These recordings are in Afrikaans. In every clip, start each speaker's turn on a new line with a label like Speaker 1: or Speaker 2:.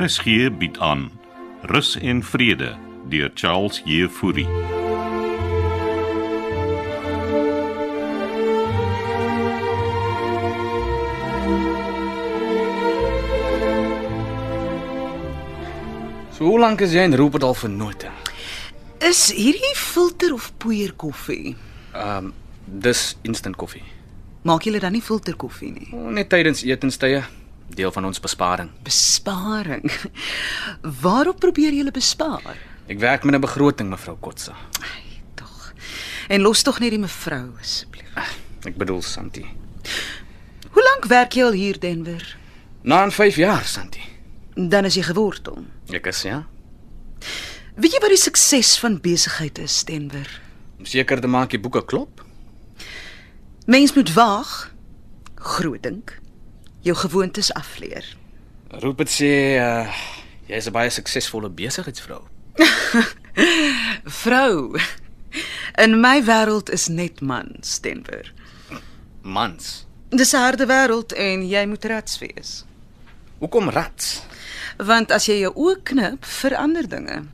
Speaker 1: RSG bied aan Rus en Vrede deur Charles Jefouri.
Speaker 2: So hoe lank is jy en Rupert al vernoot?
Speaker 3: Is hierdie filter of poeier koffie?
Speaker 2: Ehm um, dis instant koffie.
Speaker 3: Maak julle dan nie filter koffie nie?
Speaker 2: Net tydens etenstye, deel van ons besparing.
Speaker 3: Besparing. Waarop probeer julle bespaar?
Speaker 2: Ek werk met 'n begroting, mevrou Kotse.
Speaker 3: Ai, tog. En los tog net die mevrou asseblief.
Speaker 2: Ek bedoel Santi.
Speaker 3: Hoe lank werk jy al hier Denver?
Speaker 2: Na in 5 jaar, Santi.
Speaker 3: Dan is jy gewortel.
Speaker 2: Ek is ja,
Speaker 3: Weet jy wat die sukses van besigheid is, Denver?
Speaker 2: om seker te maak die boeke klop.
Speaker 3: Mens moet waag, groot dink, jou gewoontes afleer.
Speaker 2: Rupert sê uh, jy is 'n baie suksesvolle besigheidsvrou.
Speaker 3: Vrou. In my wêreld is net mans, Denver.
Speaker 2: Mans.
Speaker 3: Dis 'n harde wêreld en jy moet rats wees.
Speaker 2: Hoekom rats?
Speaker 3: Want as jy jou oë knip vir ander dinge,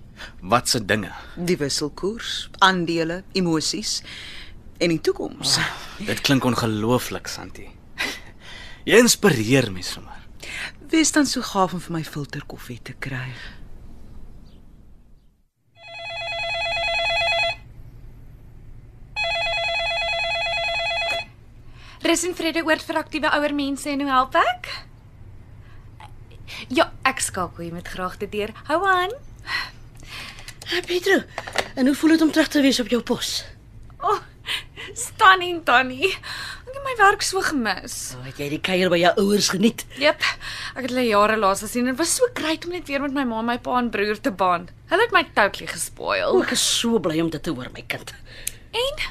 Speaker 2: Wat se dinge?
Speaker 3: die wisselkoers, aandele, emosies en die toekoms.
Speaker 2: Dit klink ongelooflik, Santi. Jy inspireer my sommer.
Speaker 3: Wees dan so gaaf om vir my filter koffie te kry.
Speaker 4: Rus en vrede oor vir aktiewe ouer mense en hoe help ek? Ja, ek skakel jy met graagte deur. Hou aan.
Speaker 5: Ah, Pietro, en hoe voel dit om terug te wees op jou pos?
Speaker 4: O, oh, stunning tannie. Ek het my werk so gemis.
Speaker 5: Oh, het jy die kuier by jou ouers geniet?
Speaker 4: Jep. Ek het hulle jare laas gesien en dit was so great om net weer met my ma, my pa en broer te band. Hulle het my totally
Speaker 5: O,
Speaker 4: gespoil.
Speaker 5: ek is so bly om dit te hoor, my kind.
Speaker 4: En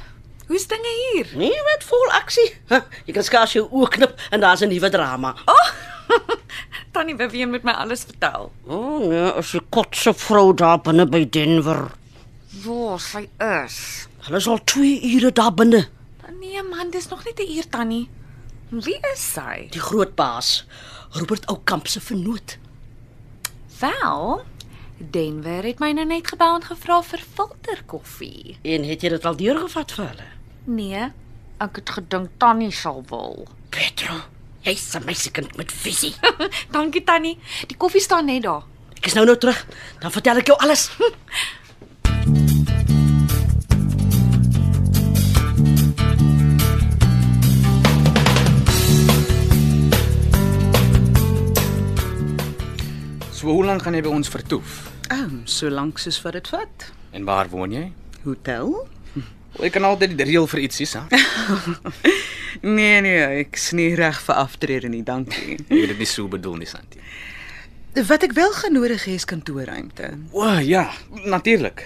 Speaker 4: hoe's dinge hier?
Speaker 5: Nee, wat vol aksie. Ha, jy kan skaars jou oë knip en daar's 'n nuwe drama. O,
Speaker 4: Tannie Vivian moet my alles vertel.
Speaker 5: oh, nee, as 'n kotse vrou daar binne by Denver.
Speaker 4: Waar sy is.
Speaker 5: Hulle is al 2 ure daar binne.
Speaker 4: Nee man, dis nog net 'n uur tannie. Wie is sy?
Speaker 5: Die groot baas, Robert Oukamp se vernoot.
Speaker 4: Wel, Denver het my nou net gebel en gevra vir filterkoffie.
Speaker 5: En het jy dit al deurgevat vir hulle?
Speaker 4: Nee, ek het gedink Tannie sal wil.
Speaker 5: Pietro, jy's 'n meisiekind met visie.
Speaker 4: Dankie Tannie, die koffie staan net daar.
Speaker 5: Ek is nou nou terug, dan vertel ek jou alles. Hm.
Speaker 2: So hoe lank gaan jy by ons vertoef?
Speaker 3: Oom, oh, so lank soos wat dit vat.
Speaker 2: En waar woon jy?
Speaker 3: Hotel?
Speaker 2: Ek kan altyd die reël vir ietsie, hè?
Speaker 3: Nee nee, ek sny reg vir aftrede nie, dankie.
Speaker 2: Ek het dit nie so bedoel nie, Santi.
Speaker 3: Wat ek wel genodig het is kantoorruimte.
Speaker 2: O, oh, ja, natuurlik.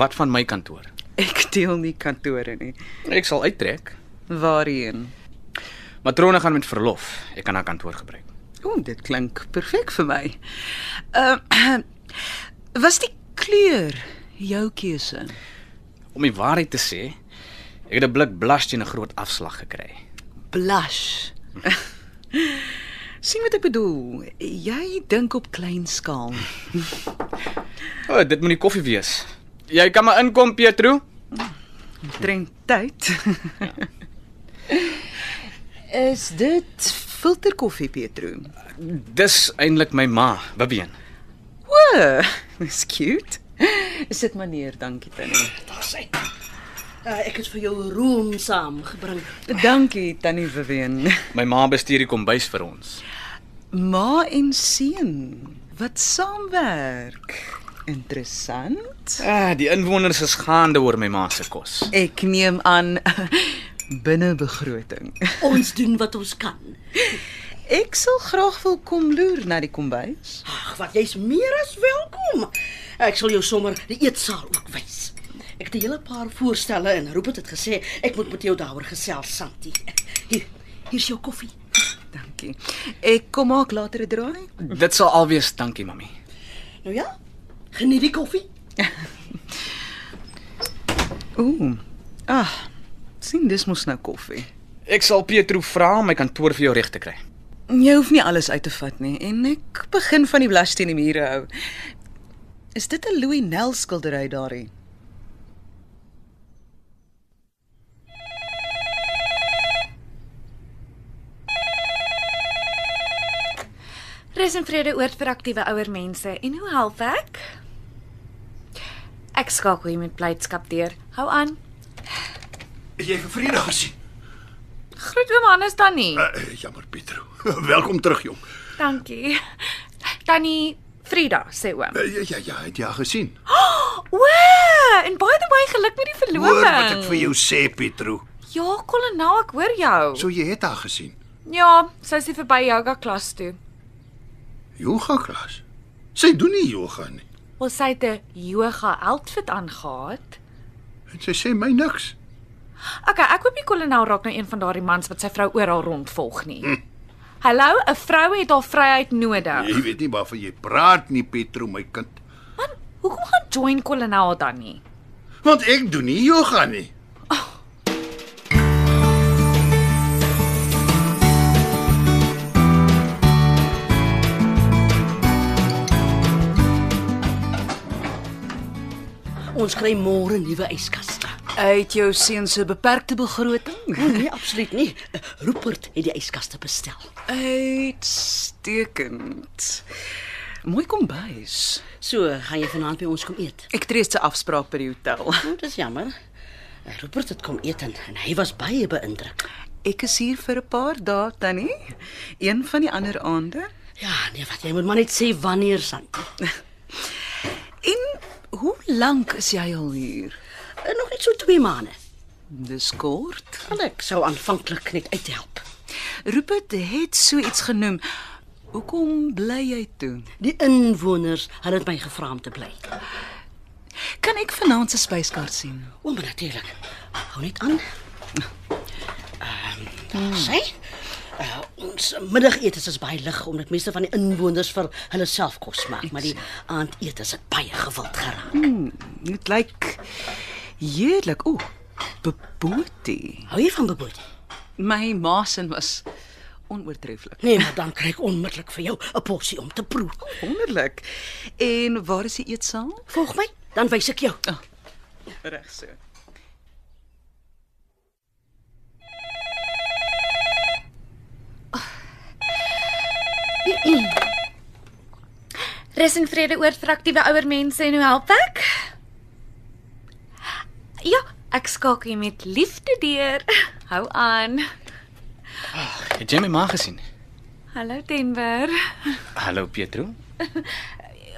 Speaker 2: Wat van my kantoor?
Speaker 3: Ek deel nie kantore nie.
Speaker 2: Ek sal uittrek.
Speaker 3: Waarheen?
Speaker 2: Matrone gaan met verlof. Ek kan haar kantoor gebruik.
Speaker 3: O, dit klink perfek vir my. Ehm uh, was die kleur jou keuse?
Speaker 2: Om die waarheid te sê, ek het 'n blik blush teen 'n groot afslag gekry.
Speaker 3: Blush. sien wat ek bedoel? Jy dink op klein skaal.
Speaker 2: O, oh, dit moet die koffie wees. Jy kan maar inkom, Pietro.
Speaker 3: Drink tyd. Is dit filterkoffie, Pietro?
Speaker 2: Dis eintlik my ma, Vivian.
Speaker 3: Woe, dis cute. Is dit meneer, dankie Tannie.
Speaker 5: Daar's hy. Uh, ek het vir jou room saamgebring.
Speaker 3: Dankie Tannie Vivian.
Speaker 2: My ma bestuur die kombuis vir ons.
Speaker 3: Ma en seun wat saamwerk. Interessant.
Speaker 2: Ah, die inwoners is gaande oor my ma se kos.
Speaker 3: Ek neem aan binne begroting.
Speaker 5: Ons doen wat ons kan.
Speaker 3: Ek sal graag wil kom loer na die kombuis.
Speaker 5: Ag, wat jy's meer as welkom. Ek sal jou sommer die eetsaal ook wys. Ek het 'n hele paar voorstelle en Rupert het gesê ek moet met jou daaroor gesels, Santi. Hier, hier's jou koffie.
Speaker 3: Dankie. Ek kom maak later 'n draai.
Speaker 2: Dit sal alwees dankie, mami.
Speaker 5: Nou ja, geniet die koffie.
Speaker 3: Ooh. Ah. Sien, dis mos nou koffie.
Speaker 2: Ek sal Pietro vra om my kantoor vir jou reg te kry.
Speaker 3: Jy hoef nie alles uit te vat nie en ek begin van die blas teen die mure hou. Is dit 'n Louis Nel skildery daarin?
Speaker 4: Rus en vrede oor vir aktiewe ouer mense. En hoe help ek? Ek skakel hier met blydskap deur. Hou aan.
Speaker 6: Het jy vir Vrydag gesien?
Speaker 4: Groet oom Hannes tannie.
Speaker 6: Uh, jammer Pietro. Welkom terug jong.
Speaker 4: Dankie. Tannie Frida sê oom.
Speaker 6: Uh, ja ja ja, het jy haar gesien?
Speaker 4: O, en by the way, geluk met die
Speaker 6: Hoor
Speaker 4: verloving.
Speaker 6: wat ek vir jou sê Pietro.
Speaker 4: Ja, kolonel, ek hoor jou.
Speaker 6: So jy het haar gesien.
Speaker 4: Ja, sy is nie verby yoga klas toe.
Speaker 6: Yoga klas. Sy doen nie yoga nie.
Speaker 4: Wel sy het 'n yoga outfit aangetree.
Speaker 6: En sy sê my niks.
Speaker 4: Okay, ek hoop die kolonel raak nou een van daardie mans wat sy vrou oral rondvolg nie. Hallo, 'n vrou het haar vryheid nodig.
Speaker 6: Jy weet nie waarvan jy praat nie Pietro, my kind.
Speaker 4: Man, hoekom gaan join kolonel dan nie?
Speaker 6: Want ek doen nie yoga nie.
Speaker 5: Ons kry môre 'n nuwe yskas.
Speaker 3: Uit jou seun se beperkte begroting.
Speaker 5: Oh, Nee, absoluut nie. Rupert het die yskaste bestel.
Speaker 3: Uitstekend. Mooi kombuis.
Speaker 5: So, gaan jy vanaand by ons kom eet?
Speaker 3: Ek tree se afspraak by die hotel.
Speaker 5: Nou, dis jammer. Rupert het kom eet en, en hy was baie beïndruk.
Speaker 3: Ek is hier vir 'n paar dae, Tannie. Een van die ander aande.
Speaker 5: Ja, nee, wat jy moet maar net sê wanneer Santi.
Speaker 3: En hoe lank is jy al hier?
Speaker 5: En Eh, nog net so 2 maande.
Speaker 3: Dis kort.
Speaker 5: Want ek sou aanvanklik net uithelp.
Speaker 3: Rupert het so iets genoem. Hoekom bly jy toe?
Speaker 5: Die inwoners het dit my gevra om te bly.
Speaker 3: Kan ek vanaand se spyskaart sien?
Speaker 5: O, maar natuurlik. Hou net aan. Ehm, um, sê Uh, ons middagete is baie lig omdat meeste van die inwoners vir hulle self kos maak, maar die aandete is baie gewild geraak.
Speaker 3: Dit lyk heerlik. Ooh, beboetie.
Speaker 5: Hou jy van beboet?
Speaker 3: My ma se was onoortreffelik.
Speaker 5: Nee, maar dan kry ek onmiddellik vir jou 'n porsie om te proe.
Speaker 3: Wonderlik. En waar is die eetsaal?
Speaker 5: Volg my, dan wys ek jou.
Speaker 3: Reg so.
Speaker 4: Rus en vrede oor vir aktiewe ouer mense en hoe help ek? Ja, ek skakel hier met liefde deur. Hou aan.
Speaker 2: Het jy my ma gesien?
Speaker 4: Hallo Denver.
Speaker 2: Hallo Pietro.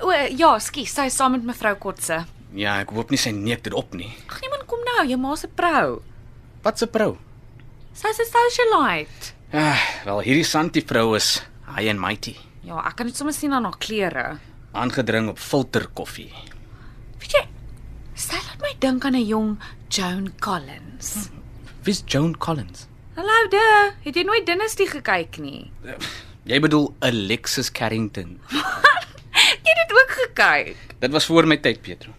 Speaker 4: O, ja, skus, sy is saam met mevrou Kotse.
Speaker 2: Ja, ek hoop nie sy neek dit op nie.
Speaker 4: Ag nee man, kom nou, jou ma se vrou.
Speaker 2: Wat 'n vrou.
Speaker 4: Sy's 'n socialite.
Speaker 2: Ah, wel hierdie Santi vrou is high and mighty,
Speaker 4: Ja, ek kan dit sommer sien aan haar klere.
Speaker 2: aangedring op filterkoffie.
Speaker 4: Weet jy, sy laat my dink aan 'n jong Joan Collins.
Speaker 2: Wie's Joan Collins?
Speaker 4: Hallo daar, het jy nooit Dynasty gekyk nie?
Speaker 2: Jy bedoel Alexis Carrington.
Speaker 4: Ek het dit ook gekyk.
Speaker 2: Dit was voor my tyd, Pietro.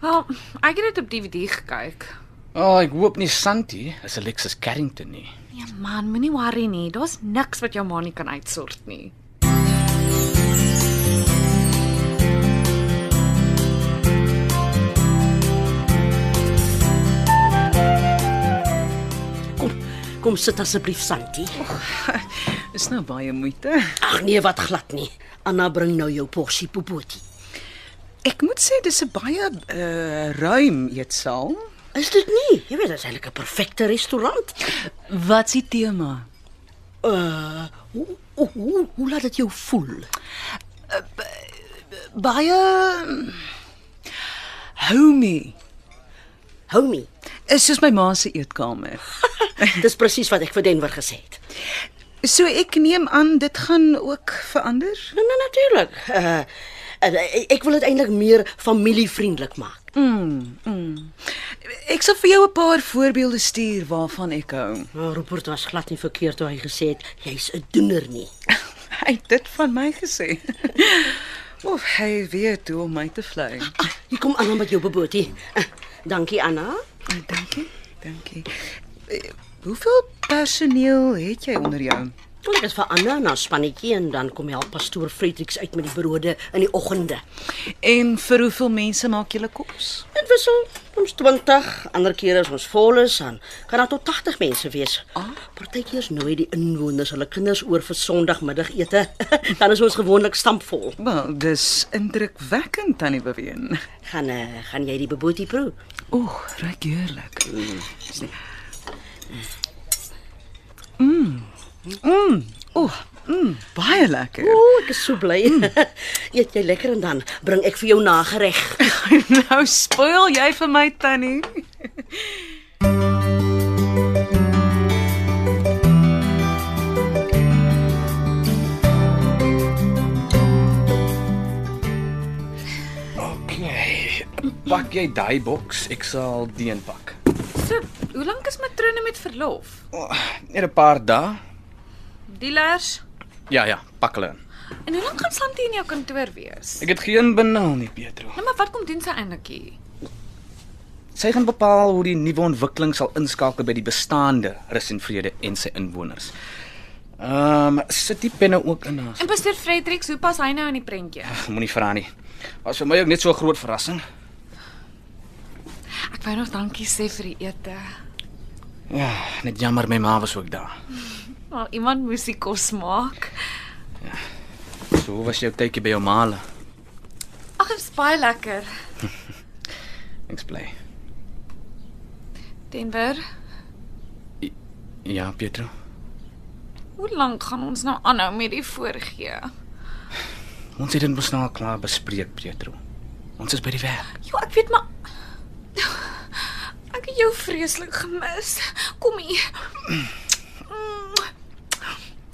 Speaker 4: Wel, ek het dit op DVD gekyk.
Speaker 2: O, oh, ek hoop nie Santi is Alexis Carrington nie.
Speaker 4: Nee man, moenie worry nie. Daar's niks wat jou ma nie kan uitsort nie.
Speaker 5: Kom, kom sit asseblief Santi.
Speaker 3: Dis nou baie moeite.
Speaker 5: Ag nee, wat glad nie. Anna bring nou jou porsie popoti.
Speaker 3: Ek moet sê dis 'n baie uh, ruim eetsaal.
Speaker 5: Is dit nie? Jy weet, dit is eintlik 'n perfekte restaurant.
Speaker 3: Wat is die tema?
Speaker 5: Uh, hoe hoe hoe, hoe laat dit jou voel?
Speaker 3: Baie mm, homey.
Speaker 5: Homie,
Speaker 3: Is soos my ma se eetkamer.
Speaker 5: dis presies wat ek vir Denver gesê het.
Speaker 3: So ek neem aan dit gaan ook verander.
Speaker 5: Nee, nee natuurlik. Uh, en ek- ek wil dit eintlik meer familievriendelik maak.
Speaker 3: Ek sal vir jou 'n paar voorbeelde stuur waarvan ek hou.
Speaker 5: Nou, Rupert was glad nie verkeerd toe hy gesê het jy's 'n doener nie.
Speaker 3: Hy het dit van my gesê. Of hy weet hoe om my te vlei.
Speaker 5: Ah, hier kom Anna met jou popoti. Uh, dankie Anna.
Speaker 3: Ah, Dankie. Dankie. Eh, Hoeveel personeel het jy onder jou?
Speaker 5: Wel, Ek is vir Anna na spannetjie en dan kom help pastoor Fredericks uit met die brode in die oggende.
Speaker 3: En vir hoeveel mense maak julle kos?
Speaker 5: Dit wissel ons 20, ander kere is ons vol is en kan daar tot 80 mense wees. Ah. Partykeers nooi die inwoners hulle kinders oor vir Sondagmiddagete. dan is ons gewoonlik stampvol.
Speaker 3: Wel, dis indrukwekkend tannie Beween.
Speaker 5: Gaan eh, gaan jy die beboetie proe?
Speaker 3: Oeg, ryk heerlik. Mm. Mm. Oeg, mm, baie lekker.
Speaker 5: Ooh, ek is so bly. Eet jy lekker en dan bring ek vir jou nagereg.
Speaker 3: nou spoil jy vir my tannie.
Speaker 2: Okay. Pak jy daai boks, ek sal die een pak.
Speaker 4: So, hoe lank is matrone met verlof?
Speaker 2: Net 'n paar dae.
Speaker 4: Dealers.
Speaker 2: Ja ja, pak hulle in.
Speaker 4: En hoe lank gaan Santi in jou kantoor wees?
Speaker 2: Ek het geen benul nie, Pietro.
Speaker 4: Nou maar wat kom doen sy eintlik hier?
Speaker 2: Sy gaan bepaal hoe die nuwe ontwikkeling sal inskakel by die bestaande rus en vrede en sy inwoners. Ehm, um, sit die penne ook in haar.
Speaker 4: En pastoor Fredericks, hoe pas hy nou in die prentjie?
Speaker 2: Moenie vra nie. Was vir my ook net so 'n groot verrassing.
Speaker 4: Ek wou nog dankie sê vir die ete.
Speaker 2: Ja, net jammer my ma was ook daar.
Speaker 4: Maar iemand moes die kos maak.
Speaker 2: So hoe was jou tydjie by jou ma? hulle?
Speaker 4: Ag, dit is baie lekker.
Speaker 2: Ek's bly.
Speaker 4: Denver,
Speaker 2: Ja, Pietro.
Speaker 4: hoe lank gaan ons nou aanhou met die voorgee?
Speaker 2: Ons het dit mos nou al klaar bespreek, Pietro. Ons is by die werk.
Speaker 4: Jo, ek weet maar ek het jou vreeslik gemis. Kom hier.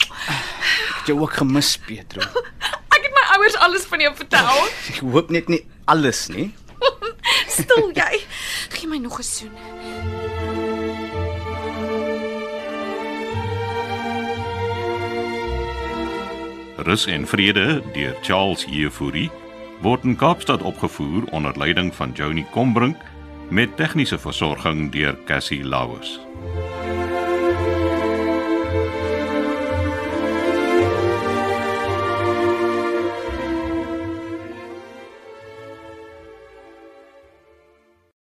Speaker 2: Ek het jou ook gemis, Pietro.
Speaker 4: Ek het my ouers alles van jou vertel.
Speaker 2: Ek hoop net nie alles nie.
Speaker 4: Stil jy. Gee my nog 'n soen.
Speaker 1: Rus en Vrede deur Charles Jefouri word in Kaapstad opgevoer onder leiding van Johnny Combrink met tegniese versorging deur Cassie Lauers.